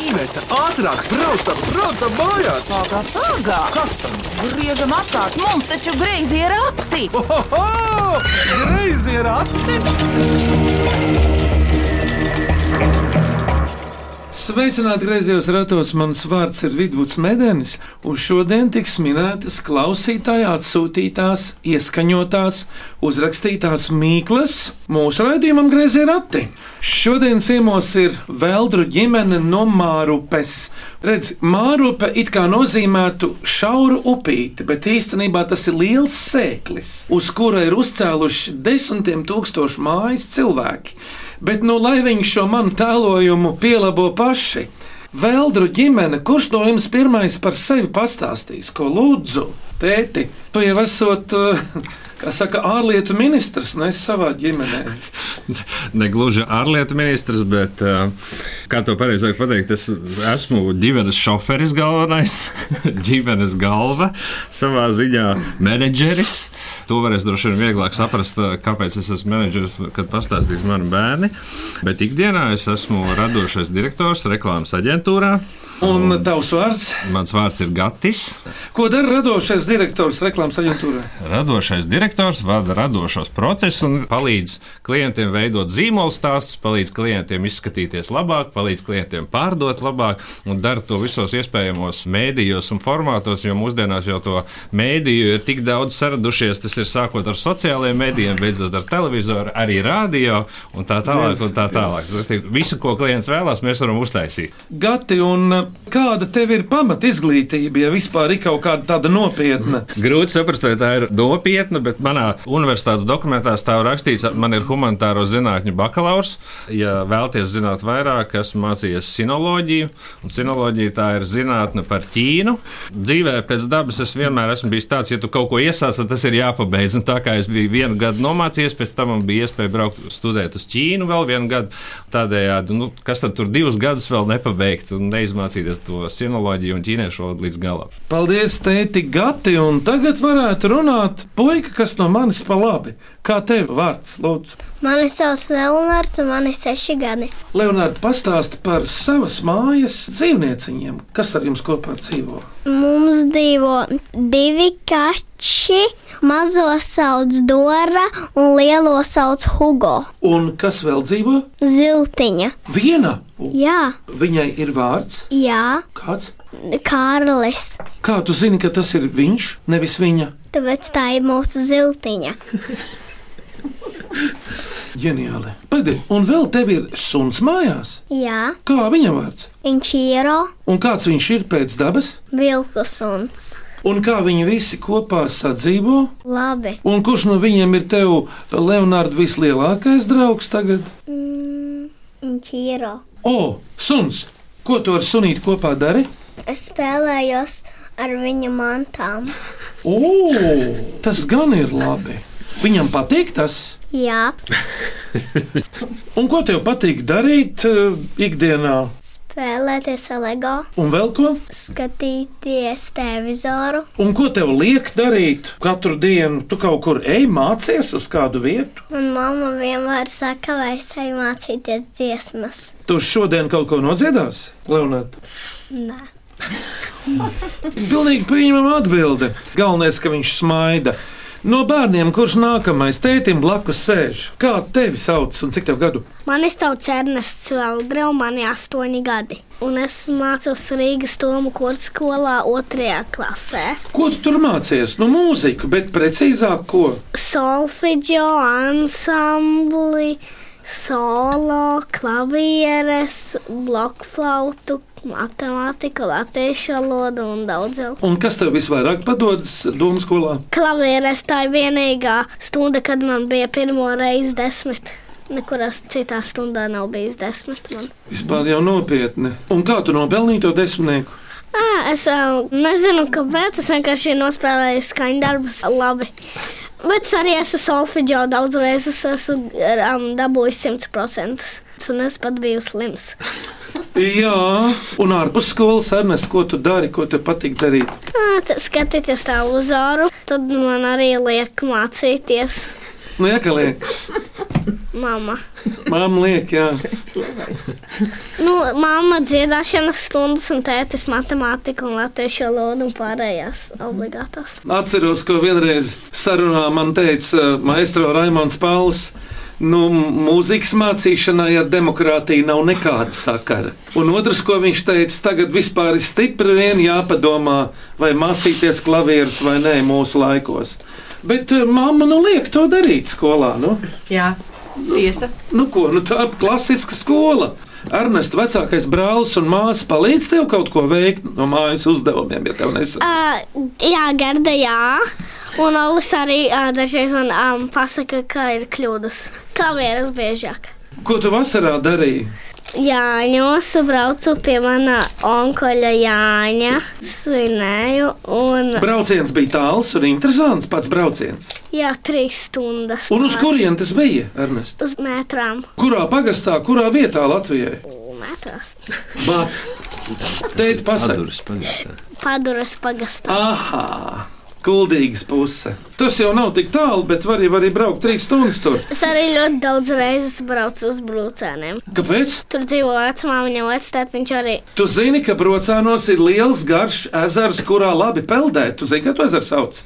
Iveta, ātrāk, braucam, braucam mājās! Pagā, pagā! Kas tam? Griežam apkārt, mums taču greizi ir rati! Ohoho! Greizi ir atti! Sveicināti griezījos ratos, mans vārds ir Vidvuds Medenis, un šodien tiks minētas klausītāja atsūtītās, ieskaņotās, uzrakstītās mīklas mūsu raidījumam Griezie rati. Šodien ciemos ir Veldru ģimene no Mārupes. Redz, Mārupe it kā nozīmētu šauru upīti, bet īstenībā tas ir liels sēklis, uz kura ir uzcēluši desmitiem tūkstošu mājas cilvēki bet nu, lai viņi šo manu tēlojumu pielabo paši. Veldru ģimene, kurš no jums pirmais par sevi pastāstīs, ko lūdzu, tēti, tu jau esot, uh, kā saka, ārlietu ministrs, ne savā ģimenē. Ne gluži ārlietu ministrs, bet uh, kā to pareizāk pateikt, es esmu ģimenes šoferis galvenais, ģimenes galva, savā ziņā menedžeris. To varēs droši vien vieglāk saprast, uh, kāpēc es esmu menedžeris, kad pastāstīs mani bērni. Bet ikdienā es esmu radošais direktors reklāmas aģentūrā. Un tavs vārds, Mans vārds ir Gatis. ko dara radošais direktors reklāmas aģentūrā? Radošais direktors vada radošos procesus un palīdz klientiem veidot zīmolu stāstus, palīdz klientiem izskatīties labāk, palīdz klientiem pārdot labāk un dara to visos iespējamos mēdījos un formātos, jo mūsdienās jau to mēdīju ir tik daudz saradušies. Tas ir sākot ar sociālajiem mēdījiem, beidzot ar televizoru, arī radio un tā tālāk. Un tā tālāk. Tas ir visu, ko klients vēlās, mēs varam uztaisīt. Gati, un uh, kāda tev ir pamat izglītība, ja vispār ir kaut kāda tāda nopietna? Grūti saprast, vai tā ir nopietna, bet manā universitātes dokumentā stāv rakstīts, ka man ir humanitāro zinātņu bakalaurs. Ja vēlaties zināt vairāk, esmu mācījies sinoloģiju, un sinoloģija tā ir zinātne par Ķīnu. Dzīvē pēc dabas es vienmēr esmu bijis tāds, ja tu kaut ko iesāc, tad tas ir jāpabeidz. Un tā kā es biju vienu gadu nomācījies, pēc tam man bija iespēja braukt studēt uz Ķīnu vēl vienu gadu. Tādējādi, nu, kas tad tur divus gadus vēl nepabeigt un neizmācīties to sinoloģiju un ķīniešu valodu līdz galam. Paldies, tēti, gati, un tagad varētu runāt puika, kas no manis pa labi. Kā tev vārds, lūdzu? Man ir savs Leonards, un man ir seši gadi. Leonārds pastāsta par savas mājas dzīvnieciņiem, kas ar jums kopā dzīvo. Mums dzīvo divi kači. Mazo sauc Dora un lielo sauc Hugo. Un kas vēl dzīvo? Ziltiņa. Viena! U, Jā, Viņai ir vārds jā, kāds. Kārlis. Kā tu zini, ka tas ir viņš, nevis viņa? Tāpēc tā ir mūsu ziltiņa. Ģeniāli. Pagaidiet, un vēl tev ir suns mājās. Jā, Kā viņa vārds? viņš ir Un kāds viņš ir pēc dabas? vilkusuns. Un kā viņi visi kopā sadzīvo? Labi. Un kurš no viņiem ir tev, Leonārds, vislielākais draugs tagad? Mm, viņš ir. O, suns! Ko tu ar sunīti kopā dari? Es spēlējos ar viņa mantām. O, tas gan ir labi. Viņam patīk tas. Jā, Un ko tev patīk darīt uh, ikdienā? spēlēties ar LEGO, Un vēl ko? skatīties televizoru. Un ko tev liek darīt katru dienu? Tu kaut kur ej mācies uz kādu vietu. Un mamma vienmēr saka, vai es eju mācīties dziesmas. Tu šodien kaut ko nodziedās, Leonārd? Nē, Pilnīgi pieņemama atbilde. Galvenais, ka viņš smaida. No bērniem, kurš nākamais tētim blakus sēž, kā tevi sauc un cik tev gadu? man ir tauts Ernests Veldre, un man ir astoņi gadi. Un es mācos Rīgas Tomu kursskolā otrajā klasē. Ko tu tur mācies? Nu, mūziku, bet precīzāk, ko? Solfidžo ansambli, solo, klavieres, blokflautu, matemātiku, latviešu valodu un daudz vēl. Un kas tev visvairāk padodas domu skolā? Klavieres tā ir vienīgā stunda, kad man bija pirmo reizi desmit. Nekurā citā stundā nav bijis desmit. Man. Vispār jau nopietni. Un kā tu nopelnīji to desmitnieku? À, es ā, nezinu, kāpēc. Es vienkārši nospēlēju skaņu darbus labi. Bet es arī esmu solfeģio daudz reizes. Es esmu um, dabūjis 100%. Un es pat biju slims. Jā, un ārpus skolas Ernests, ko tu dari, ko tev patīk darīt? À, tad Skatīties televizoru, tad man arī liek mācīties. Nu, jākaliek. Mama. Māma liek, jā. Nu, mamma dziedāšanas stundas un tētis matemātika un latviešu valoda un pārējās obligātās. Atceros, ko vienreiz sarunā man teica "Eh, maestro Raimons Pauls. Nu, mūzikas mācīšanai ar demokrātiju nav nekāda sakara. Un otrs, ko viņš teica, tagad vispār ir stipri vien jāpadomā, vai mācīties klavierus vai nē, mūsu laikos. Bet eh, mamma nu liek to darīt skolā. Nu, Jā, tiesa. nu ko, nu tā ir klasiska skola. Ernests, vecākais brālis un māsa palīdz tev kaut ko veikt no mājas uzdevumiem, ja tev nesaprot. Uh, jā, Gerda, jā. Un Olis arī uh, dažreiz man um, pasaka, ka ir kļūdas. Kā vieras biežāk. Ko tu vasarā darīji? Jāņos braucu pie mana onkoļa Jāņa. Svinēju un Brauciens bija tāls un interesants pats brauciens. jā, trīs stundas. Un uz kurien tas bija, Ernest? Uz metrām. Kurā pagastā, kurā vietā Latvijai? Metrās. Bāc, teikt, Paduras pasakiet, pagastā. Paduras pagastā. ah, kuldīgas puse. Tas jau nav tik tālu, bet var jau arī braukt trīs stundas tur. Es arī ļoti daudz reizes braucu uz brūcēniem. Kāpēc? Tur dzīvo vecmāmiņa, vectētiņš arī. Tu zini, ka Brocēnos ir liels, garš ezers, kurā labi peldēt. Tu zini, kā to ezeru sauc?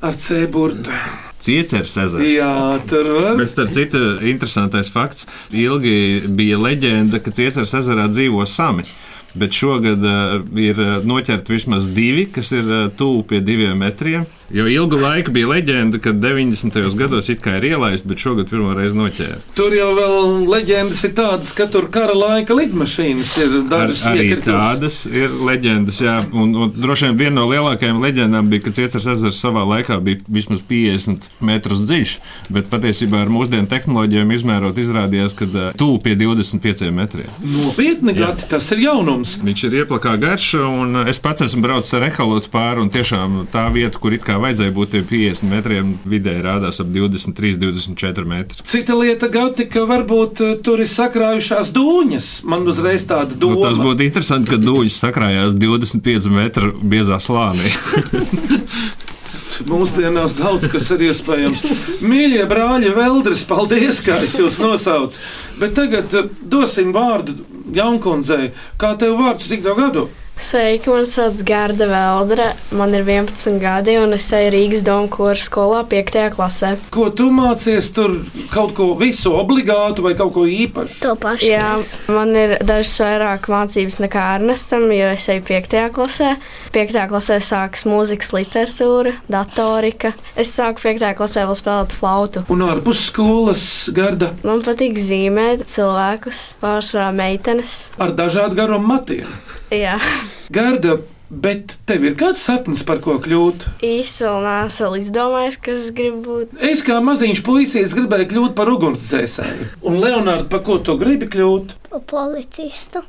Ar C burtu. Cieceres ezers. Jā, tur var. Bet, starp citu, interesantais fakts. Ilgi bija leģenda, ka Ciesaras ezerā dzīvo sami. Bet šogad uh, ir uh, noķerti vismaz divi, kas ir uh, tuvu pie diviem metriem. Jo ilgu laiku bija leģenda, ka 90. gados it kā ir ielaists, bet šogad pirmo reizi noķēra. Tur jau vēl leģendas ir tādas, ka tur kara laika lidmašīnas ir Ar, dažas arī iekritušas. tādas ir leģendas, jā. Un, un droši vien viena no lielākajām leģendām bija, ka Ciesaras ezers savā laikā bija vismaz 50 metrus dziļš, bet patiesībā ar mūsdienu tehnoloģijām izmērot izrādījās, ka ā, tuvu pie 25 metriem. Nopietni, gati, tas ir jaunums. Viņš ir ieplakā garš, un ā, es pats esmu braucis ar ehalotu pāri, un tiešām tā vieta, kur it kā vajadzēja būt tiem 50 metriem, vidēji rādās ap 23, 24 metri. Cita lieta, Gauti, ka varbūt eh, tur ir sakrājušās dūņas. Man uzreiz tāda Nu, doma. tas būtu interesanti, ka dūļas sakrājās 25 metru biezā slānī. Mūsdienās daudz kas ir iespējams. Mīļie brāļi, Veldris, paldies, kā es jūs nosaucu. Bet tagad eh, dosim vārdu Jankundzei. Kā tev vārds cik tev gadu? Sveiki, man sauc Gārda Veldra. Man ir 11 gadi, un es eju Rīgas domu kora skolā 5. klasē. Ko tu mācies tur kaut ko visu obligātu vai kaut ko īpašu? To pašu. Jā, mēs. man ir dažas vairāk mācības nekā Ernestam, jo es eju 5. klasē. 5. klasē sākas mūzikas literatūra, datorika. Es sāku 5. klasē vēl spēlēt flautu. Un ārpus skolas garda Man patīk zīmēt cilvēkus, pārsvarā meitenes. ar dažādu garumu matiem. Jā, Garda, bet tev ir kāds sapnis par ko kļūt? īsti vēl neesmu izdomājis, kas es gribu būt. Es kā maziņš puisis gribēju kļūt par ugunsdzēsēju. Un, Leonārds, par ko tu gribi kļūt? Pa Policistu.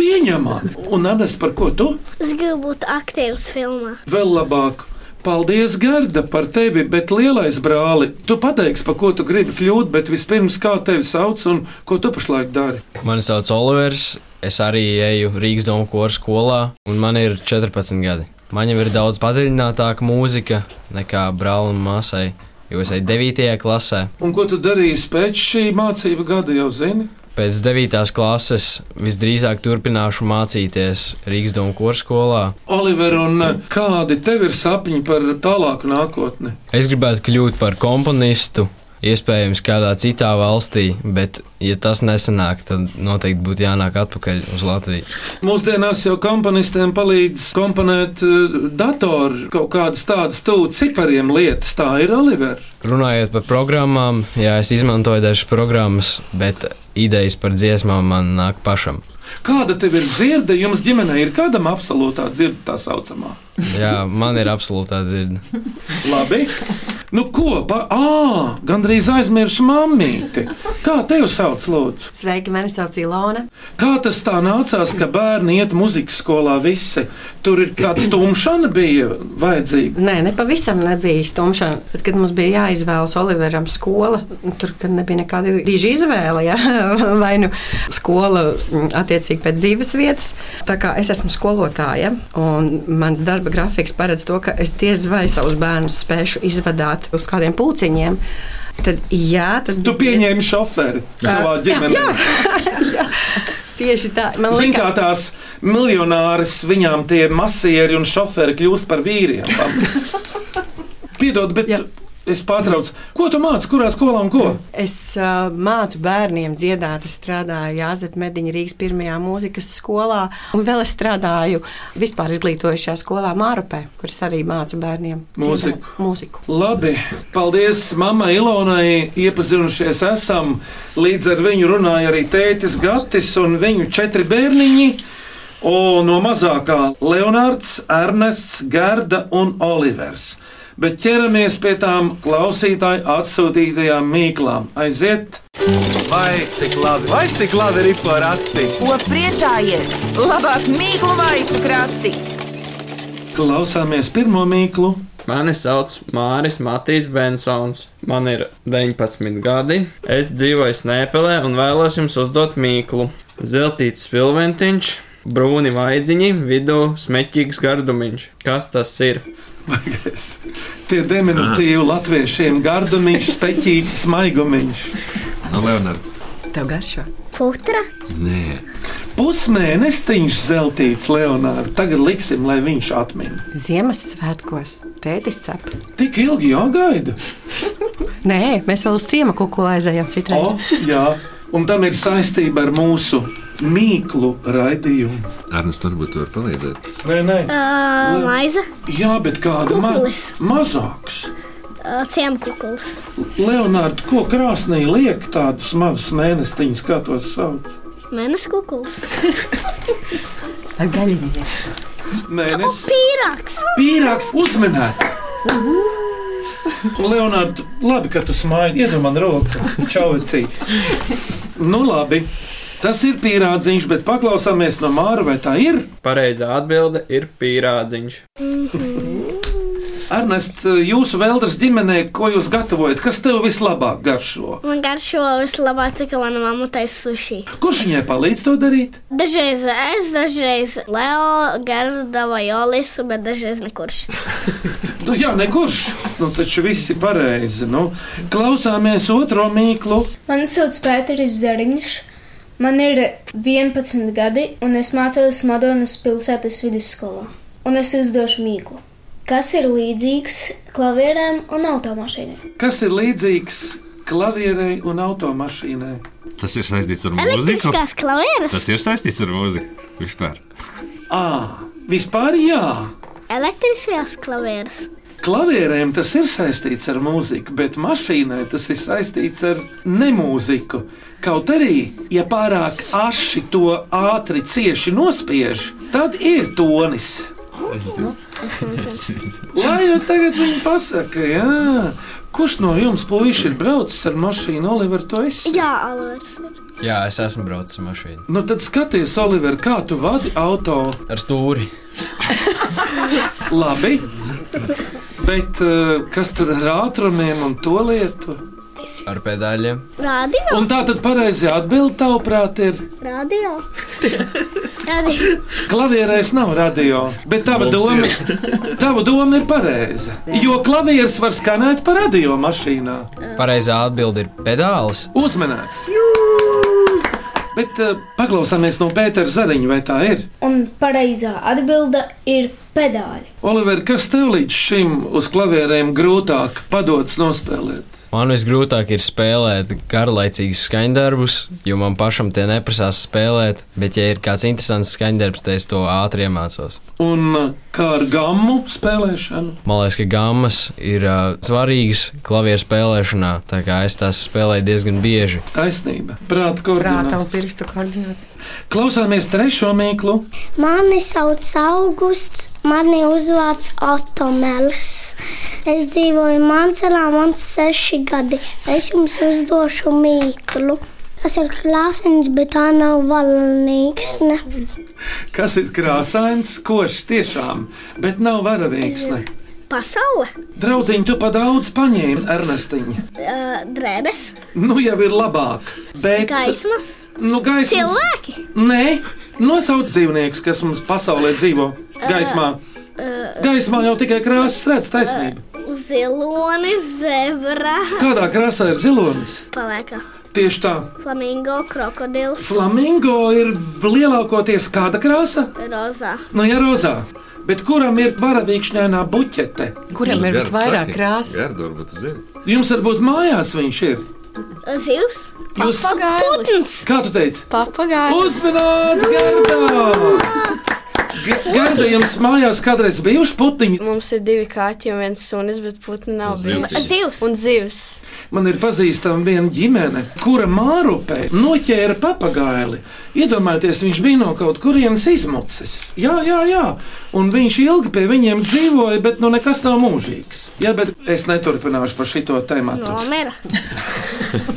Pieņemam, un Anes, par ko tu Es gribu būt aktieris filmā. vēl labāk. Paldies, Garda, par tevi, bet lielais brāli, tu pateiksi, par ko tu gribi kļūt, bet vispirms kā tevi sauc un ko tu pašlaik dari. Mani sauc Olivers, es arī eju Rīgas domu kora skolā, un man ir 14 gadi. Man jau ir daudz padziļinātāka mūzika nekā brālim un māsai, jo es eju 9. klasē. Un ko tu darīsi pēc šī mācību gada, jau zini? Pēc 9. klases visdrīzāk turpināšu mācīties Rīgas domu kora skolā. Oliver, un eh, kādi tev ir sapņi par tālāku nākotni? Es gribētu kļūt par komponistu, iespējams, kādā citā valstī, bet, ja tas nesanāk, tad noteikti būtu jānāk atpakaļ uz Latviju. Mūsdienās jau komponistiem palīdz komponēt eh, datoru kaut kādas tādas tuvu cipariem lietas. Tā ir Oliver. Runājot par programmām, jā, es izmantoju dažas programmas, bet idejas par dziesmām man nāk pašam. Kāda tev ir dzirde? Jums ģimenē ir kādam absolūtā dzirde tā saucamā? Jā, man ir absolūtā dzirde. Labi. Nu, ko? Pa... Ā, gandrīz aizmirsu mammīti. Kā tevi sauc, Lūdzu? Sveiki, mani sauc Ilona. Kā tas tā nācās, ka bērni iet muzikas skolā visi? Tur ir kāda stumšana bija vajadzīga. Nē, ne pavisam nebija stumšana. Tad, kad mums bija jāizvēlas Oliveram skola, tur kad nebija nekāda diža izvēle. Ja? Vai nu skola mm, attiecīgi pēc dzīves vietas. Tā kā es esmu skolotāja, un mans darba grafiks paredz to, ka es diez vai savus bērnus spēšu izvadīt uz kādiem pulciņiem. Tad, jā, tas Tu pieņēmi šoferi savā ģimenē. tieši tā. Man Zini, kā liekas, tās miljonāras, viņām tie masieri un šoferi kļūst par vīriem. Piedod, bet Jā. es pārtraucu. Ko tu māci, kurā skolā un ko? es uh, mācu bērniem dziedāt. Es strādāju Jāzepa Mediņa Rīgas pirmajā mūzikas skolā, un vēl es strādāju vispār izglītojušajā skolā Mārupē, kur es arī mācu bērniem dziedāt Mūziku. mūziku. Labi, paldies mammai Ilonai. Iepazinušies esam. Līdz ar viņu runāja arī tētis Gatis un viņu četri bērniņi. O, no mazākā Leonards, Ernests, Gerda un Olivers. Bet ķeramies pie tām klausītāju atsūtītajām mīklām. Aiziet! Vai cik labi, vai cik labi ir porakti? Ko priecājies? Labāk mīklu maisu krati. Klausāmies pirmo mīklu. Mani sauc Māris Matīs Bensons. Man ir 19 gadi. Es dzīvoju Snēpelē un vēlos jums uzdot mīklu. Zeltīts spilventiņš, brūni vaidziņi, vidū smeķīgs gardumiņš. Kas tas ir? Es- Tie diminutīvi latviešiem gardumiņš, speķītis, maigumiņš. No Leonards. Tev garšo. Putra? Nē, Pusmēnestiņš zeltīts Leonārds. Tagad liksim, lai viņš atmin. Ziemassvētkos tētis cep. Tik ilgi jāgaida. Nē, mēs vēl uz ciema kukulēzējam O, citreiz. Oh. jā, un tam ir saistība ar mūsu mīklu raidījumu. Arnēs, varbūt tu vari palīdzēt. Nē, nē, Uh, maize? jā, bet kāda ma Kukulis. mazāks. Uh, Ciemkukls. Leonārds, ko krāsnī liek tādus mazus mēnestiņus, kā tos sauc? Mēnesis kukls. Ar gaļiņiem. Mēnesis. Pīrāgs. Pīrāgs uzmanīts. Leonārds, Mhm. labi, ka tu smaidi. Iedod man roku, čaucī. Nu, labi. Tas ir pīrādziņš, bet paklausāmies no Māra, vai tā ir. Pareizā atbilde ir pīrādziņš. Ernest, jūsu vēldras ģimenē, ko jūs gatavojat, kas tev vislabāk garšo? Man garšo vislabāk, tā, ka mana mamma taisa suši. Kurš viņai palīdz to darīt? Dažreiz es, dažreiz Leo, Garda vai Olis, bet dažreiz nekurš. Nu, jā, nekurš. Nu, taču viss ir pareizi. Nu, klausāmies otro mīklu. Mani sauc Pēteris Zariņš. Man ir 11 gadi, un es mācos Madonas pilsētas vidusskolā. Un es uzdošu mīklu, kas ir līdzīgs klavierēm un automašīnai. Kas ir līdzīgs klavierei un automašīnai? Tas ir saistīts ar mūziku. Elektriskās klavieres. Tas ir saistīts ar mūziku. Vispār. À, vispār jā. Elektriskās klavieres. Klavierēm tas ir saistīts ar mūziku, bet mašīnai tas ir saistīts ar nemūziku. Kaut arī, ja pārāk aši to ātri cieši nospiež, tad ir tonis. Lai jau tagad viņi pasaka, jā. kurš no jums puiši ir braucis ar mašīnu, Oliver, to es? Jā, Olivers. ir. Jā, es esmu braucis ar mašīnu. Nu tad skaties, Oliver, kā tu vadi auto. Ar stūri. Labi, bet eh, kas tur ar ātrumiem un to lietu? Ar pedāļiem. Radio. Un tā tad pareizi atbild, tavuprāt, ir Radio. Radio. klavierēs nav radio. Bet tava doma, tava doma ir pareiza. Jo klavieres var skanēt pa radio mašīnā. Pareizā atbilde ir pedālis. Uzmanīts! Bet eh, paklausāmies no Pētera Zariņa, vai tā ir? Un pareizā atbilde ir pedāļi. Oliver, kas tev līdz šim uz klavierēm grūtāk padodas nospēlēt? Man visgrūtāk ir spēlēt garlaicīgus skaņdarbus, jo man pašam tie neprasās spēlēt. Bet, ja ir kāds interesants skaņdarbs, tad es to ātri iemācos. Un eh, kā ar gammu spēlēšanu? Man liekas, ka gammas ir uh, svarīgas klavieru spēlēšanā, tā kā es tās spēlēju diezgan bieži. Taisnība, prāta Prāta koordinācija. un pirkstu koordinācija. Klausāmies trešo mīklu. Mani sauc Augusts, mani uzvārds Otomēlis. Es dzīvoju Mancelā, man ir seši gadi. Es jums uzdošu mīklu. Tas ir krāsains, bet tā nav varonīgs. Ne? Kas ir krāsains, košs tiešām, bet nav varavīgs. Ne? Pasaule, Draudziņ, tu pa daudz paņēmi, Ernestiņa. uh, drēbes, Nu jau ir labāk. Bet, gaismas, nu, gaismas... cilvēki, Nē, nosauc dzīvniekus, kas mums pasaulē dzīvo gaismā. Gaismā jau tikai krāsas redz taisnība. zilonis, zebra, Kādā krāsā ir zilonis? palieka Tieši tā, flamingo, krokodils, flamingo ir lielākoties kāda krāsa? rozā. Nu, ja rozā. Bet kuram ir varavīkšņainā buķete? Kuram ir visvairāk krāsas? Gerdurba, tu zini. Jums varbūt mājās viņš ir. Zivs, Jūs, Papagailis. kā tu teici? Papagailis. Uzmanīts, Gerda! Ge- Gerda, jums mājās kādreiz bijuši putiņi? Mums ir divi kaķi un viens sunis, bet putni nav zivs. bijuši. zivs. Un zivs. Man ir pazīstama viena ģimene, kura mārupē noķēra papagaili. Iedomājieties, viņš bija no kaut kurienes izmucis. Jā, jā, jā. Un viņš ilgi pie viņiem dzīvoja, bet nu nekas nav mūžīgs. Jā, bet es neturpināšu par šito tēmu. Nomira.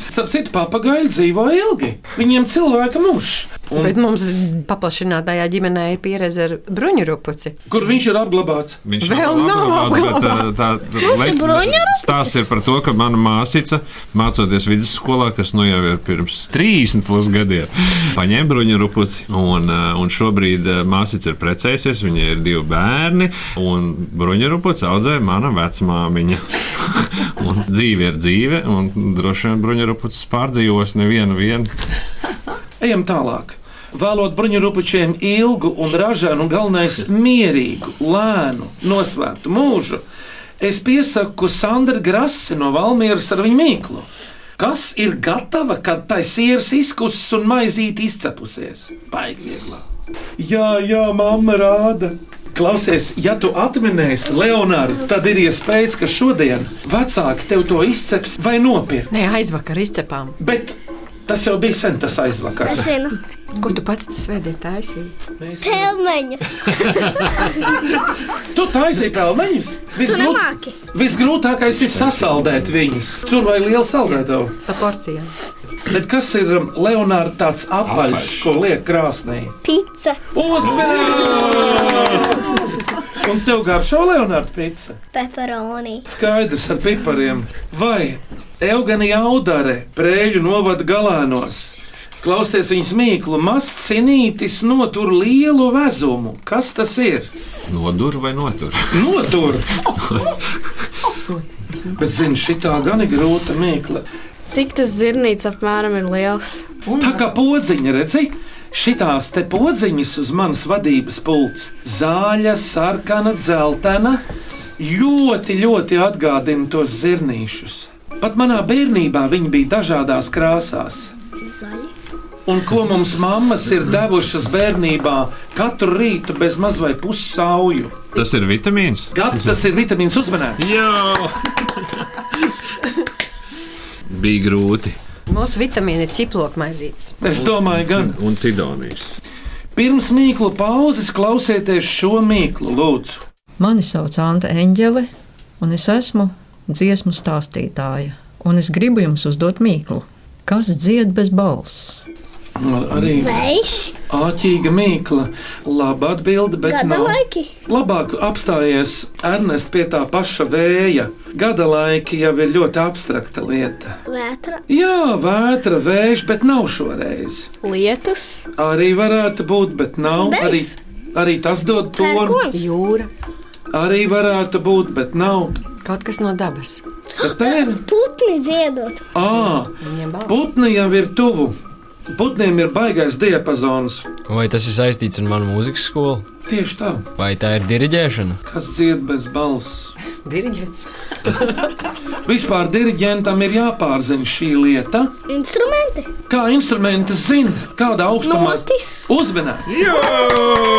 Starp citu, papagaili dzīvo ilgi. Viņiem cilvēka muž. Un, Bet mums paplašinātajā ģimenē ir pieredze ar bruņurupuci. kur viņš ir apglabāts? Viņš Vēl nav apglabāts. ir apglabāts. bruņurupucis. Stāsts ir par to, ka mana māsīca, mācoties vidusskolā, kas nu jau ir pirms 30 plus gadiem, paņēma bruņurupuci. Un, eh, un šobrīd eh, māsīca ir precējusies, viņai ir divi bērni, un bruņurupuci audzēja mana vecmāmiņa. un dzīve ir dzīve, un droši vien bruņurupucis pārdzīvos nevienu vienu. Ejam tālāk. Vēlot bruņurupučiem ilgu un ražānu, un galvenais mierīgu, lēnu, nosvērtu mūžu, es piesaku Sandra Grasi no Valmieras ar viņu mīklu. Kas ir gatava, kad tai sieras izkusis un maizīte izcepusies? Baigvieglā. Jā, jā, mamma rāda. Klausies, ja tu atminēsi Leonārdu, tad ir iespējas, ka šodien vecāki tev to izceps vai nopirks. Nē, aizvakar izcepām. Bet tas jau bija sen tas aizvakars. Es zinu, Ko tu pats tas vēdēji taisīt? Mēs pelmeņa. Tu taisīji pelmeņus? Tu nemāki. visgrūtākais ir sasaldēt viņus. Tur vai liela saldētāja. Pa porcijām. Bet kas ir um, Leonārds tāds apaļš, ko liek krāsnī? Pica. Uzmanīgi! Un tev garšo Leonārds pīcis. Peperoni. Skaidrs ar pipariem. Vai Eugenija Audare, prēļu novada galānos? Klausies viņas mīklu, mazs cinītis notur lielu vezumu. Kas tas ir? Nodur vai notur? Notur! Bet, zini, šī gan ir grūta mīkla. Cik tas zirnīts apmēram ir liels? Tā kā podziņa, redzi, šitās te podziņas uz manas vadības pults - zāļa, sarkana, dzeltena - ļoti, ļoti atgādina tos zirnīšus. Pat manā bērnībā viņi bija dažādās krāsās. Zaļi. Un ko mums mammas ir devušas bērnībā katru rītu bez maz vai pussauju? Tas ir vitamīns. Gati tas ir vitamīns uzmanēt! Jā! Bija grūti. Mūsu vitamīna ir ķiplokmaizīts. Es domāju, gan. Un cidonijas. Pirms mīklu pauzes klausieties šo mīklu, lūdzu. Mani sauc Anta Eņģele, un es esmu dziesmu stāstītāja. Un es gribu jums uzdot mīklu. Kas dzied bez balss? Nu, Arī Vējš. āķīga mīkla. Labi atbildi, bet Gada nav. laiki. Labāk apstājies Ernest pie tā paša vēja. Gada laiki jau ir ļoti abstrakta lieta. Vētra. Jā, vētra, vējš, bet nav šoreiz. Lietus? Arī varētu būt, bet nav. Zudens? Arī, arī tas dod tonu. Pērkons. Jūra, Arī varētu būt, bet nav. kaut kas no dabas. Bet tā ir. Putni dziedot. Ā, Viņiem balss. putni jau ir tuvu. Putniem ir baigais diapazons. Vai tas ir saistīts ar manu mūzikas skolu? Tieši tā, Vai tā ir diriģēšana? kas dzied bez balss. Diriģents. Vispār diriģentam ir jāpārzina šī lieta. Instrumenti. Kā instrumenti zina, kāda augstumā Notis. uzmanīgs.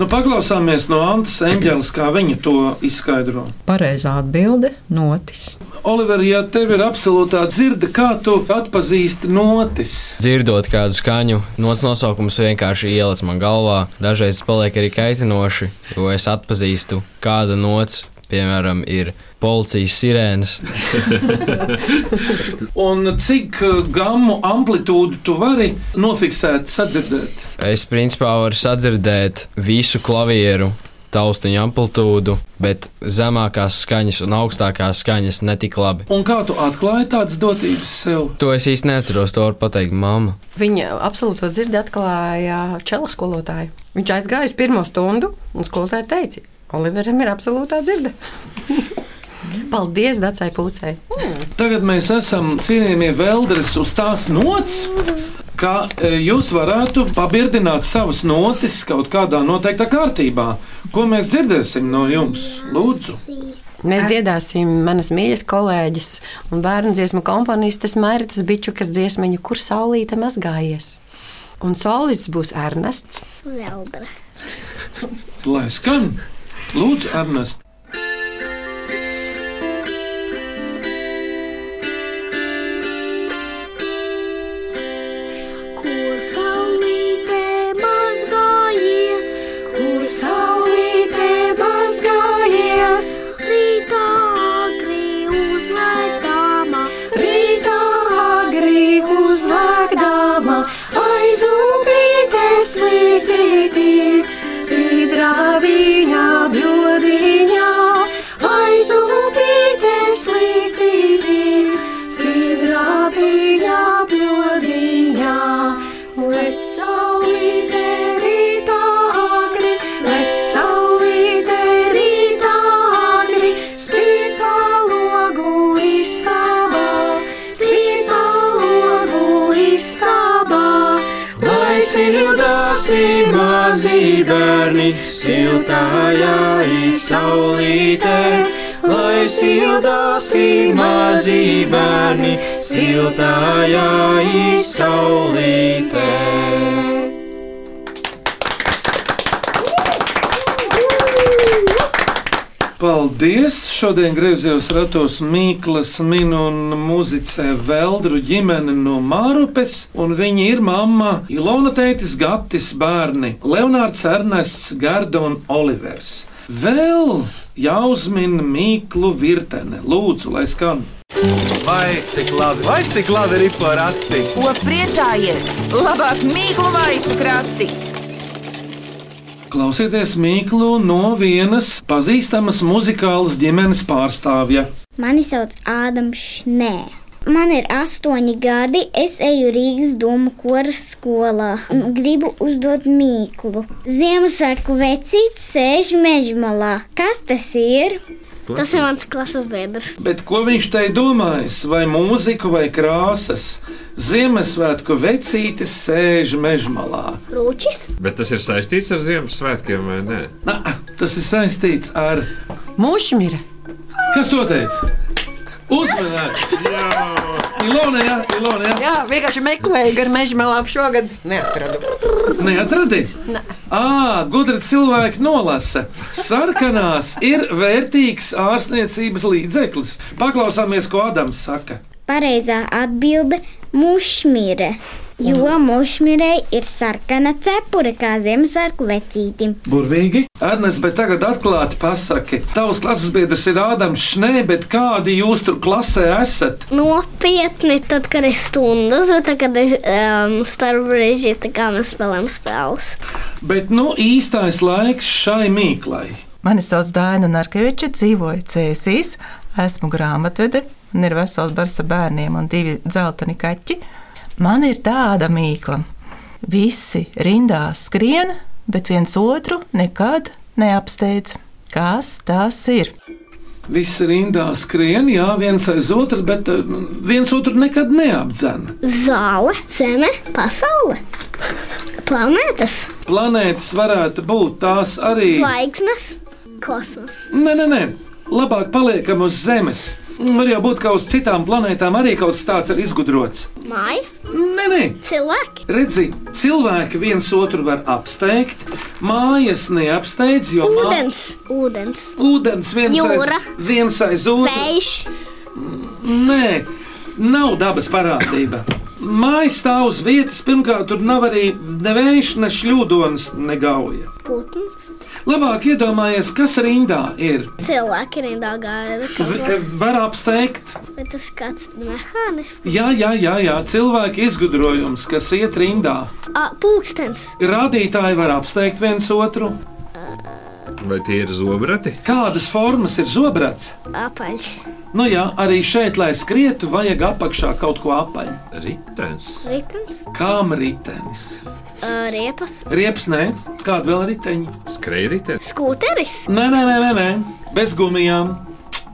Nu, paklausāmies no Antas Enģeles, kā viņa to izskaidro. Pareizā atbilde - notis. Oliver, ja tev ir absolūtā dzirde, kā tu atpazīsti notis? Dzirdot kādu skaņu, nots nosaukums vienkārši ieliec man galvā. Dažreiz tas paliek arī kaitinoši, jo es atpazīstu kādu nots, piemēram, ir policijas sirēnas. Un cik uh, gamu amplitūdu tu vari nofiksēt, sadzirdēt? Es principā varu sadzirdēt visu klavieru. Taustiņu amplitūdu, bet zemākās skaņas un augstākās skaņas netik labi. Un kā tu atklāji tādas dotības sev? To es īsti neatceros, to var pateikt mamma. Viņa absolūto dzirdi atklāja čela skolotāju. Viņš aizgāja uz pirmo stundu, un skolotāja teica, Oliveram ir absolūtā dzirde. Paldies, Dacai Pūcei! Tagad mēs esam cienījamie Veldres uz tās nots. Kā e, jūs varētu pabirdināt savas notis kaut kādā noteiktā kārtībā? Ko mēs dzirdēsim no jums? Lūdzu, Mēs dziedāsim manas mīļas kolēģis un bērnu dziesmu komponistes Mairītas Bičukas dziesmiņu, kur saulīte mazgājies. Un solists būs Ernests. Veldra. lai skan! Lūdzu, Ernest! Kur saulītē mazgājies, kur saulītē mazgājies, rītā agri uzlēkdama, rītā agri uzlēkdama, aiz upītes līdzītīm, sidrā viņa bļodiņā, aiz upītes līdzītīm, sidrā viņa bļodiņā. Let saulītē rītā agri, let saulītē rītā agri, spītā logu istabā, spītā logu istabā. Lai sildā mazi bērni, siltajā saulītē. Lai sildāsi mazi bērni, siltajā saulītē. Paldies! Šodien griezījos ratos Mīklas, Minu un Mūzicē Veldru ģimene no Mārupes, un viņi ir mamma Ilona Tētis, Gatis, bērni Leonards Ernests, Garda un Olivers. Vēl jāuzmina Mīklu virtene. Lūdzu, lai skan! Vai cik labi, vai cik labi ir porakti? Ko priecājies? Labāk mīklu maisu krati! Klausieties Mīklu no vienas pazīstamas muzikālas ģimenes pārstāvja. Mani sauc Ādams Šnē. Man ir astoņi gadi, es eju Rīgas domu koras skolā un gribu uzdot mīklu. Ziemassvētku vecītis sēž mežmalā. Kas tas ir? Tas ir mans klases biedrs. Bet ko viņš tai domājis? Vai mūziku, vai krāsas? Ziemassvētku vecītis sēž mežmalā. Rūčis. Bet tas ir saistīts ar Ziemassvētkiem vai nē? Tas ir saistīts ar Mūžmīra! Kas to teica? Uzmanīgi! Ilona, jā, Ilona, jā. Jā, vienkārši meklēju garu meža malā šogad. Neatradu. Neatradi? Ā, gudri cilvēki nolasa. Sarkanās ir vērtīgs ārstniecības līdzeklis. Paklausāmies, ko Adams saka. Pareizā atbilde - mušmire. Jo mušmirei ir sarkana cepure kā Ziemassvētku vecītim. Burvīgi. Ernest, bet tagad atklāti pasaki, tavs klases biedrs ir Ādams Šnē, bet kādi jūs tur klasē esat? Nopietni, tad, kad ir stundas, vai tad, kad ir um, starp brīži, tā kā mēs spēlējam spēles. Bet nu īstais laiks šai mīklai. Mani sauc Dāna Narkeviča, dzīvoju Cēsīs, esmu grāmatvede, man ir vesels bars ar bērniem un divi dzelteni kaķi. Man ir tāda mīkla. Visi rindā skrien, bet viens otru nekad neapsteidz. Kas tas ir? Visi rindā skrien, jā, viens aiz otru, bet eh, viens otru nekad neapdzen. Zāle, zeme, pasaule, planētas, Planētas varētu būt tās arī. zvaigznes, kosmos. Nē, nē, nē, labāk paliekam uz Zemes. Var jau būt, ka uz citām planētām arī kaut kas tāds ir izgudrots. Mājas, Nē, nē, cilvēki, redzi, cilvēki viens otru var apsteigt, mājas neapsteidz, jo mā- ūdens, ūdens, Ūdens viens Jūra. aiz, viens aiz otru. vējš, Nē, nav dabas parādība. Mājas stāv uz vietas, pirmkārt, tur nav arī nevējš, ne šļūdons, ne gauja. putns. Labāk iedomājies, kas rindā ir. Cilvēki rindā gaida. V var apsteigt, Vai tas ir kāds mehānisms? jā, jā, jā, jā, cilvēka izgudrojums, kas iet rindā. A, Pulkstens, Rādītāji var apsteigt viens otru. Vai tie ir zobrati? Kādas formas ir zobrats? apaļš, Nu jā, arī šeit, lai skrietu, vajag apakšā kaut ko apaļu. Ritenis. Ritenis, Kām ritenis? ā, riepas, Riepas, nē, kāda vēl riteņa? Skrejritenis. kūteris, Nē, nē, nē, nē, nē. bez gumijām.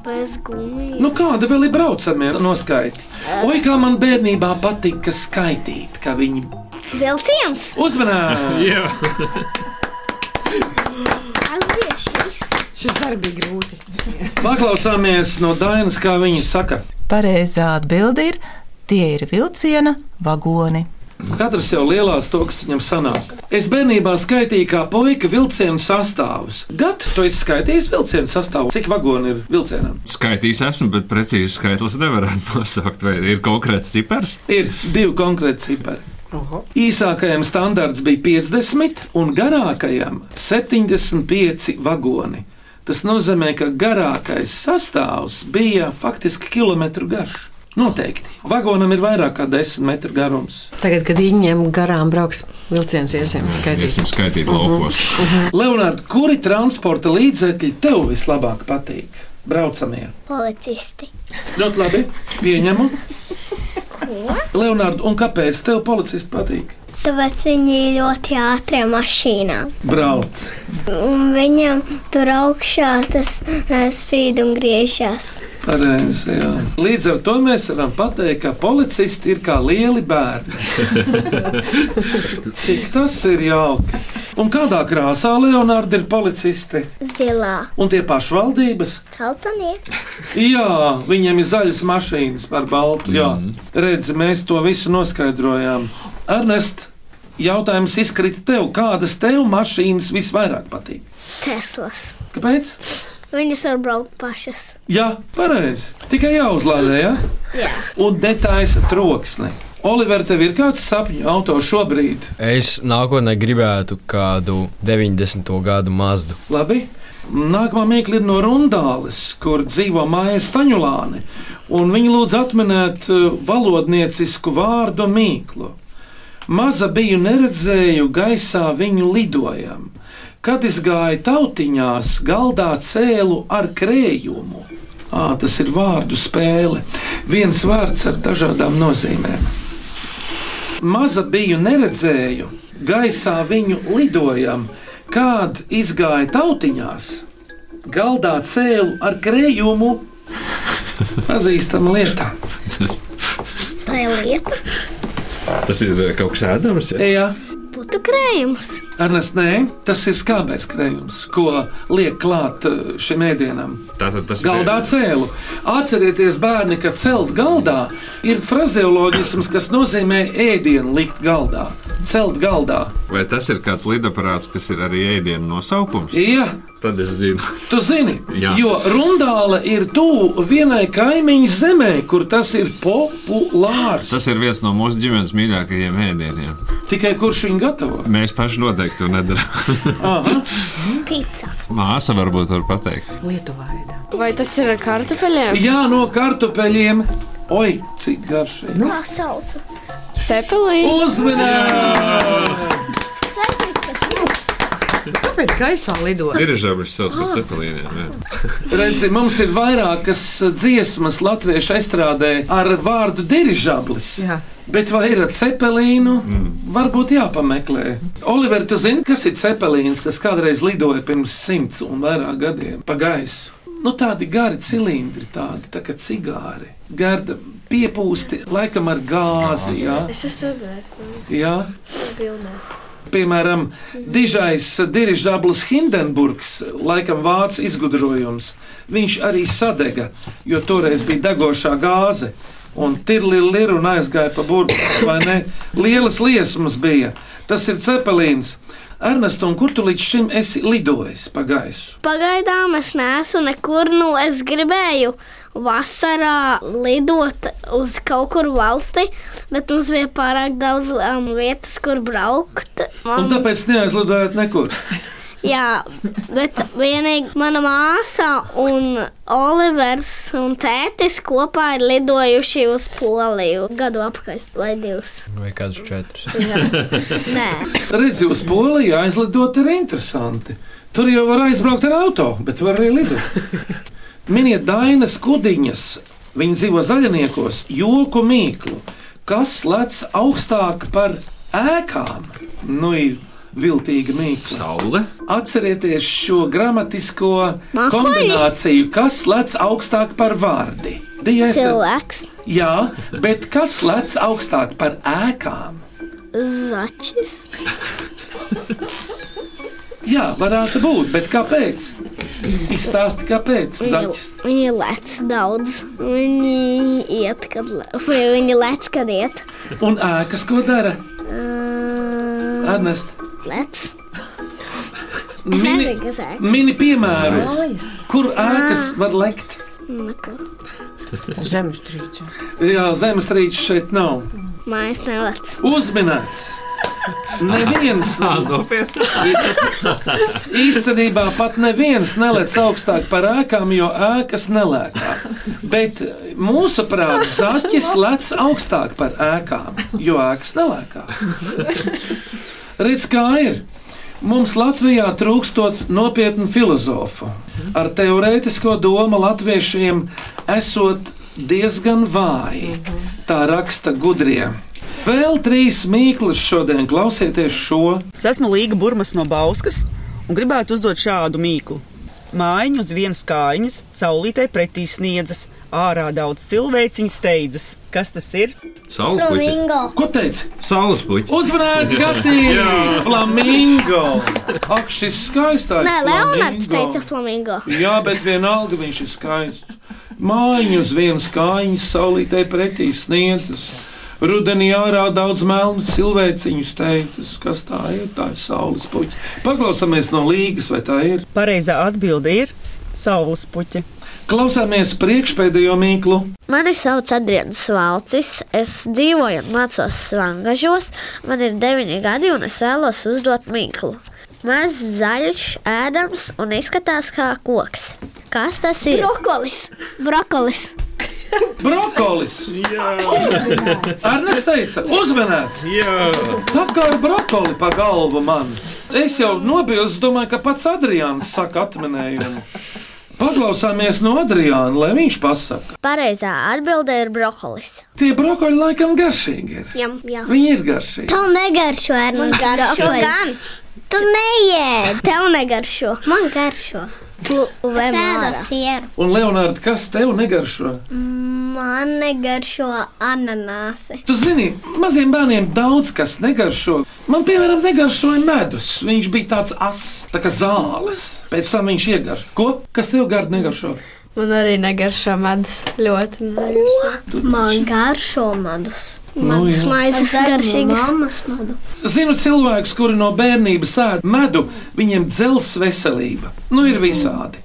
bez gumijas. Nu, kāda vēl ir braucamie noskaiti? Oi, kā man bērnībā patika skaitīt, ka viņi Vilciens, uzmanīgi! atgriežas. Šis darbs bija grūti. Paklausāmies no Dainas, kā viņa saka. Pareizā atbilde ir: tie ir vilciena vagoni. Katrs jau lielās toks viņam sanāk. Es bērnībā skaitīju kā puika vilcienu sastāvus. Gads, tu esi skaitījis vilcienu sastāvu. Cik vagoni ir vilcienam? Skaitījis esmu, bet precīzi skaitlis nevarētu nosaukt. Vai ir konkrēts cipars? Ir divi konkrēti cipari. Īsākajam standarts bija 50, un garākajam 75 vagoni. Tas nozīmē, ka garākais sastāvs bija faktiski kilometru garš. Noteikti. Vagonam ir vairāk kā 10 metru garums. Tagad, kad viņiem garām brauks vilciens, iesim skaitīt. Esmu skaitījis laukos. Leonard, kuri transporta līdzekļi tev vislabāk patīk? Braucamie. Policisti. Ļoti labi. Pieņemu. Ko? Leonard, un kāpēc tev policisti patīk? Tāpēc viņi ļoti ātri mašīnā. Brauc. Un viņam tur augšā tas spīd un griežas. Pareizi, jā. Līdz ar to mēs varam pateikt, ka policisti ir kā lieli bērni. Cik tas ir jauki. Un kādā krāsā Leonarda ir policisti? Zilā. Un tie pašvaldības? Celtanie. Jā, viņiem ir zaļas mašīnas par baltu. Jā, redz, mēs to visu noskaidrojām. Ernest, jautājums izkrita tev, kādas tev mašīnas visvairāk patīk? Teslas. Kāpēc? Viņas var braukt pašas. Jā, pareizi. Tikai jāuzlādē, ja? Jā. Un detaisa troksne. Oliver, tev ir kāds sapņu autors šobrīd? Es nākotnē gribētu kādu 90. gadu mazdu. Labi. Nākamā mīkla ir no Rundāles, kur dzīvo Maija Staņulāne. Un viņa lūdz atminēt eh, valodniecisku vārdu mīklu. Maza biju neredzēju gaisā viņu lidojam. Kad es gāju tautiņās, galdā cēlu ar krējumu. À, tas ir vārdu spēle. Viens vārds ar dažādām nozīmēm. Maza biju neredzēju, gaisā viņu lidojam, kad izgāja tautiņās, galdā cēlu ar krējumu. Pazīstama lieta. Tas, Tā ir lieta. tas ir eh, kaut kas ēdams. Ja? Jā, Būtu krējums. Ernest, nē, tas ir skābais krējums, ko liek klāt eh, šim ēdienam. Tātad tas Galdā cēlu. Atcerieties, bērni, ka celt galdā ir frazeoloģisms, kas nozīmē ēdienu likt galdā. Celt galdā. ir. Vai tas ir kāds lidaparāts, kas ir arī ēdienu nosaukums? Jā, Tad es zinu. Tu zini, Jā. jo Rundāla ir tuvu vienai kaimiņu zemē, kur tas ir populārs. Tas ir viens no mūsu ģimenes mīļākajiem ēdieniem. Tikai kurš viņu gatavo? Mēs paši noteikti to nedarām. Aha. Pizza. Māsa varbūt var pateikt. Lietuvā. ēdā. Vai tas ir ar kartupeļiem? Jā, no kartupeļiem. Oi, cik garšīgi! Kā sauc? Cepelīni. Uzmanīgi! Kāpēc gaisā lido? Dirižablis sauc par cepelīniem. jā. Redzi, mums ir vairākas eh, dziesmas latviešu estrādē ar vārdu dirižablis. Jā. Bet vai ir ar cepelīnu? Mm. Varbūt jāpameklē. Oliver, tu zini, kas ir cepelīns, kas kādreiz lidoja pirms simts un vairāk gadiem pa gaisu? Nu, tādi gari cilindri, tādi tā kā cigāri. Garda piepūsti, laikam ar gāzi. Jā, Es esmu redzējis, jā. bildē. Piemēram, dižais dirižablis Hindenburgs, laikam vācu izgudrojums, viņš arī sadega, jo toreiz bija degošā gāze. Un tirlīri ir un aizgāja pa burbuļu, vai ne? Lielas liesmas bija. Tas ir cepelīns. Ernest, un kur tu līdz šim esi lidojis pa gaisu? Pagaidām es neesmu nekur, nu es gribēju vasarā lidot uz kaut kur valsti, bet mums bija pārāk daudz um, vietas, kur braukt. Man, Un tāpēc neaizlidojāt nekur. jā, bet vienīgi mana māsa un Olivers un tētis kopā ir lidojuši uz Poliju gadu apakaļ vai divus. Vai kādus četrus? Nē, Redzi, uz Poliju aizlidot ir interesanti. Tur jau var aizbraukt ar auto, bet var arī lidot. Miniet Dainas kudiņas, viņa dzīvo zaļniekos, joku mīklu, kas lec augstāk par ēkām. Nu, ir viltīga mīkla. Saule. Atcerieties šo gramatisko Mākoņi. kombināciju, kas lec augstāk par vārdi. Dija, es tev- Cilvēks, Jā, bet kas lec augstāk par ēkām? zaķis, Jā, varētu būt, bet kāpēc? Izstāsti, kāpēc? Nu. Zaķis. Viņi lec daudz. Viņi iet, kad le- vai viņi lec, kad iet. Un ēkas ko dara? Ernest, Lec. Es mini, nezinu, kas ēk. mini piemēru, Mājas. kur ēkas var lekt. Neko. Zemestrīce. Jā, zemestrīce šeit nav. Mājas nelec. Uzminēts! Neviens nav. Nopietni. Īstenībā pat neviens nelec augstāk par ēkām, jo ēkas nelēkā. Bet mūsuprāt, zaķis lec augstāk par ēkām, jo ēkas nelēkā. Redz, kā ir. Mums Latvijā trūkstot nopietnu filozofu. Ar teorētisko domu latviešiem esot diezgan vāji. Tā raksta gudrie. Vēl trīs mīklas šodien klausieties šo. Es esmu Līga Burmas no Bauskas un gribētu uzdot šādu mīklu. Mājiņu uz vienas kājas, saulītē pretī sniedzas, ārā daudz cilvēciņu steidzas. Kas tas ir? Saules puķi. Ko teici? Saules puķi. Uzmanīgi, Gatīna! Flamingo! Ak, šis skaistākais! Nē, Leonards flamingo. teica flamingo. Jā, bet vienalga viņš ir skaists. Mājiņu uz vienas kājas saulītē pretī sniedzas. Rudenī ārā daudz melnu cilvēciņu steidzas. Kas tā ir? Tā ir saules puķa. Paklausāmies no līgas, vai tā ir? Pareizā atbilde ir saules puķa. Klausāmies priekšpēdējo mīklu. Mani sauc Adrians Valcis. Es dzīvoju un mācos Svangažos. Man ir 9 gadi un es vēlos uzdot mīklu. Mazs zaļš, ēdams un izskatās kā koks. Kas tas ir? Brokolis. Brokolis. Brokolis! Jā, Ernsts teica, uzmanīts! Jā, tā kā ar brokoli pa galvu man. Es jau nobilstu, domāju, ka pats Adrians saka atminējumu. Paklausāmies no Adriana, lai viņš pasaka. Pareizā atbildē ir brokolis. Tie brokoļi laikam garšīgi ir. Jā, jā. Viņi ir garšīgi. negaršo ar Man garšo gan. Tu neied. Tev negaršo. Man garšo. Tu vai Māra? sieru. Un, Leonārd, kas tev negaršo? Man negaršo ananāsi. Tu zini, maziem bērniem daudz kas negaršo. Man, piemēram, negaršoja medus. Viņš bija tāds asins, tā kā zāles. Pēc tam viņš iegaršo. Ko? Kas tev gardi negaršo? Man arī negaršo medus. Ļoti negaršo. Man garšo medus. Nu, Medus jā. maizes garšīgas. Māmas medu. Zinu cilvēkus, kuri no bērnības ēd medu, viņiem dzels veselība. Nu, ir visādi.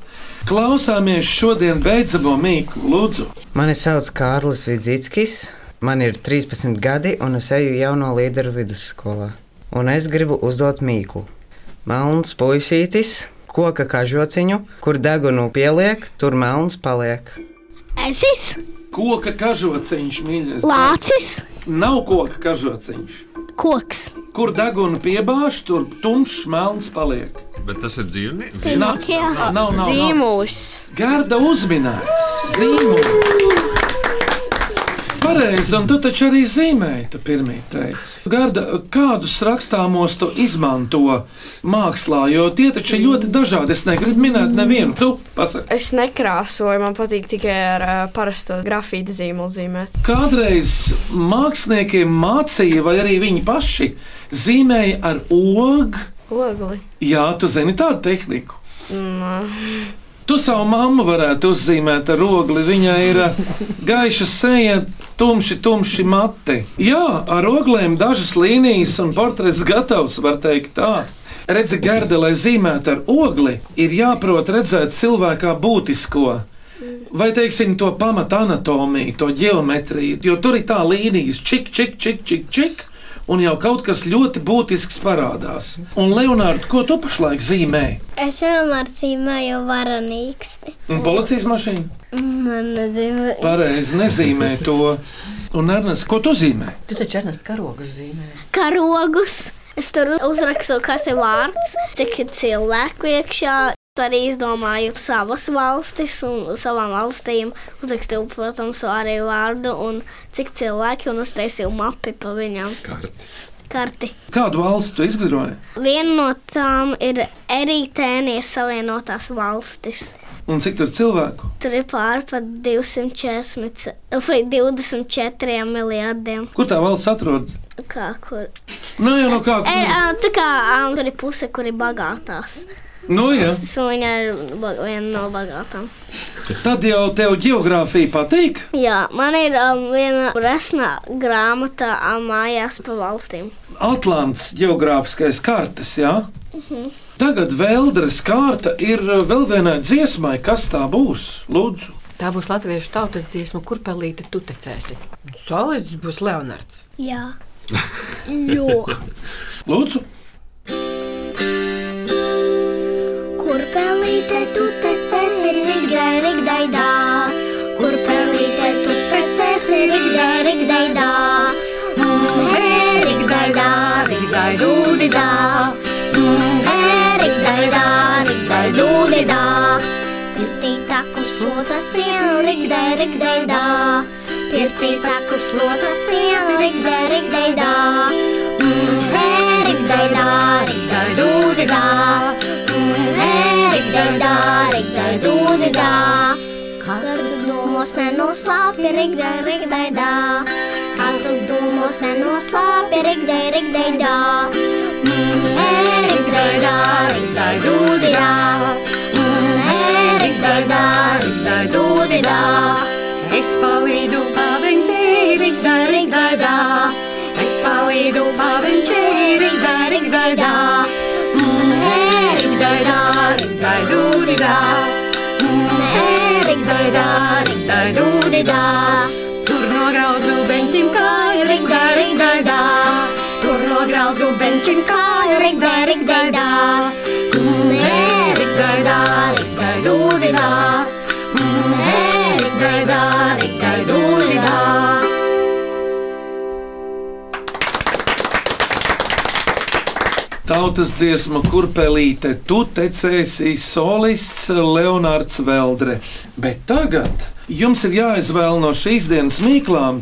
Klausāmies šodien beidzamo mīklu, lūdzu. Mani sauc Kārlis Vidzītskis, man ir 13 gadi un es eju jauno līderu vidusskolā. Un es gribu uzdot mīklu. Melns puisītis, koka kažociņu, kur degunu pieliek, tur melns paliek. Esis, Koka kažociņš, mīļais. lācis, Nav koka kažociņš. koks. Kur deguna piebāž, tur tumšs melns paliek. Bet tas ir dzīvnieks. Nav, nav, nav, nav. Zīmulis. Garda uzminēts, zīmols. Pareizi, un tu taču arī zīmēji, tu pirmie teici. Garda, kādus rakstāmos tu izmanto mākslā, jo tie taču ir ļoti dažādi. Es negribu minēt nevienu, tu pasaki. Es nekrāsoju, man patīk tikai ar uh, parasto grafītu zīmolu zīmēt. Kādreiz māksliniekiem mācīja, vai arī viņi paši zīmēja ar ogu. Ogli. Jā, tu zini tādu tehniku. Mm. Tu savu mammu varētu uzzīmēt ar rogli. Viņai ir eh, gaiša seja, tumši, tumši mati. Jā, ar roglēm dažas līnijas un portrets gatavs, var teikt tā. Redzi, garda, lai zīmētu ar ogli, ir jāprot redzēt cilvēkā būtisko. Vai teiksim to pamatu anatomiju, to geometriju, jo tur ir tā līnijas, čik, čik, čik, čik, čik, un jau kaut kas ļoti būtisks parādās. Un, Leonārd, ko tu pašlaik zīmē? Es vienmēr cīmēju varanīksti. Un policijas mašīna? Man nezinu. Pareizi nezīmē to. Un, Ernsts, ko tu zīmē? Tu taču ernest karogus zīmē. Karogus. Es tur uzrakstu, kas ir vārds, cik ir cilvēku iekšā. Arī izdomāju savas valstis un savām valstīm. Uzrakstīju, protams, arī vārdu un cik cilvēki un uztaisīju mapi pa viņām. Karti. Karti. Kādu valstu tu izgudroji? Viena no tām ir Eritēnijas Savienotās valstis. Un cik tur cilvēku? Tur ir pārpār 240 vai 24 miljardiem. Kur tā valsts atrodas? Kā kur? Nu, jau no kā. E, ā, tā kā ā, tur ir puse, kur ir bagātās. Nu, jā. Suņa ir ba- viena no bagātām. Tad jau tev geogrāfija patīk. Jā, man ir um, viena resna grāmata um, mājās pa valstīm. Atlants geogrāfiskais kartes, jā. Mhm. Tagad vēldres kārta ir uh, vēl vienai dziesmai, kas tā būs. Lūdzu, Tā būs latviešu tautas dziesma, kur pelīti tu tecēsi. Solists būs Leonards. Jā. Jo. Lūdzu. Kur pelīte tu tecēs ir rigdai, rigdai dā. Kur pelīte tu tecēs ir rigdai, rigdai dā. Mm, he, rigdai dā, rigdai dūdi dā. Mm, he, rigdai dā, rigdai dūdi dā. Pirtī taku slota sienu, rigdai, rigdai dā. Pirtī taku slota sienu, rigdai, rigdai dā. Mm, he, rigdai dā, rigdai dūdi dā. Rigdaidā, rigdaidā, rigdaidā. Kad tu domos nenoslāpi, rigdai, rigdaidā. Kad tu domos nenoslāpi, rigdai, rigdaidā. Mm, e, Rigdaidā, rigdaidūdidā. Mm, e, Rigdaidā, rigdaidūdidā. Es palīdu paviņķī, rigdai, rigdaidā. Es palīdu paviņķī, rigdai, rigdaidā. Mm, e, rigdaidā, rigdaidūdidā. Mm, e, rigdaidā, rigdaidūdidā. Tur nograuzu beņķim kāju, rigdā, rigdā, dā. Tur nograuzu beņķim kāju, rigdā, rigdā, dā. Mm, e, rigdaidā, rigdaidūdidā. Mm, e, rigdaidā, rigdaidūdidā. tautas dziesma, kur pelīte tu tecēsi solists Leonards Veldre. Bet tagad jums ir jāizvēl no šīs dienas mīklām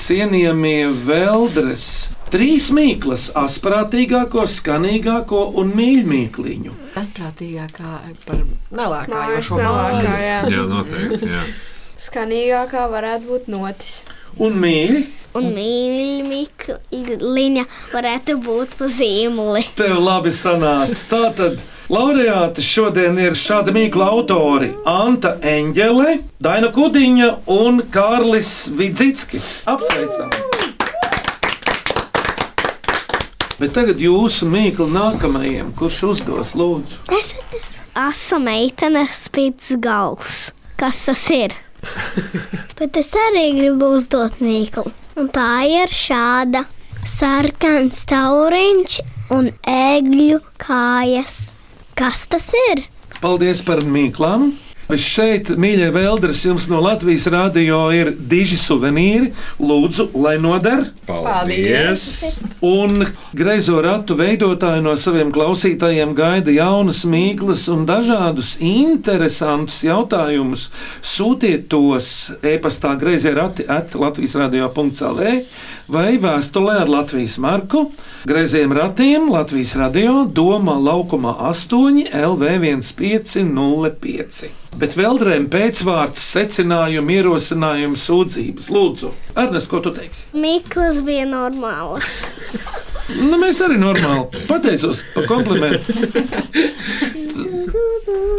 cienījamie Veldres. Trīs mīklas, asprātīgāko, skanīgāko un mīļāko. Tas prātīgākā par nelākā Mājas jau šo nelākā, jā. māju. Jā, noteikti. Jā. Skanīgākā varētu būt notis. Un mīļi, Un mīļākā varētu būt pa zīmoli. tev labi sanāca. Tātad laureāti šodien ir šādi mīkla autori - Anta Enģele, Daina Kudiņa un Kārlis Vidzītskis. Apsveicam! Bet tagad jūsu mīklu nākamajam, kurš uzdos lūdzu. Es esmu meitene, spīdz gals. Kas tas ir? Bet es arī gribu uzdot mīklu. Un tā ir šāda sarkana tauriņš un ēgļu kājas. Kas tas ir? Paldies par mīklām! Bet šeit, mīļie Vēlders, jums no Latvijas rādio ir diži suvenīri. Lūdzu, lai noder! Paldies! Un greizo ratu veidotāji no saviem klausītājiem gaida jaunas, mīklas un dažādus interesantus jautājumus. Sūtiet tos e-pastā grazē rati at Latvijas radio.cl E vai vēstulē ar Latvijas marku. Grazējiem ratiem Latvijas radio Doma laukumā 8 LV1505. Bet vēlreiz pēcvārds, secinājumi, ierosinājumi, sūdzības. Lūdzu, Ernest, ko tu teiksi? Mikls bija normāls. Nu, mēs arī normāli pateicos par komplimentu.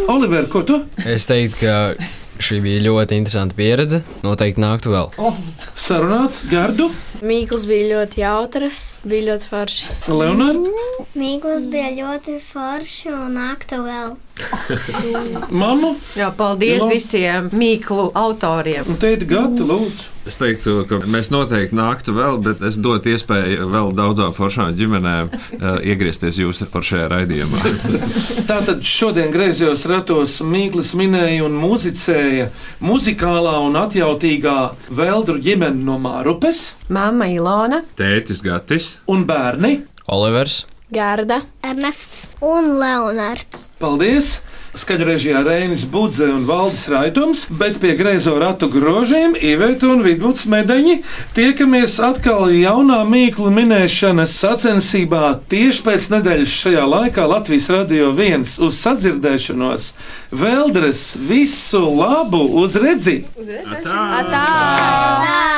Oliver, ko tu? Es teiktu, ka šī bija ļoti interesanta pieredze. Noteikti nāktu vēl. Sarunāts, gardu, Mīkls bija ļoti jautrs, bija ļoti forši. Leonards, Mīkls bija ļoti forši un aktu vēl. Mamu? Jā, paldies Nu. Jum. visiem mīklu autoriem. Un teikt, gati, lūdzu. Es teiktu, ka mēs noteikti nāktu vēl, bet es dotu iespēju vēl daudzām foršām ģimenēm uh, iegriezties jūsu foršajā raidījumā. Tātad šodien griezos ratos Mīklis minēja un muzicēja muzikālā un atjautīgā Veldru ģimene no Mārupes Māma Ilona. Tētis Gatis un bērni Olivers, Gārda, Ernests un Leonards. Paldies! Skaņrežijā Rēnis Budze un Valdis Raitums, bet pie griezo ratu grožiem Iveta un Vidvuds Medeņi tiekamies atkal jaunā mīklu minēšanas sacensībā tieši pēc nedēļas šajā laikā Latvijas radio viens uz sadzirdēšanos. Veldres visu labu uz redzi! Atā! Atā!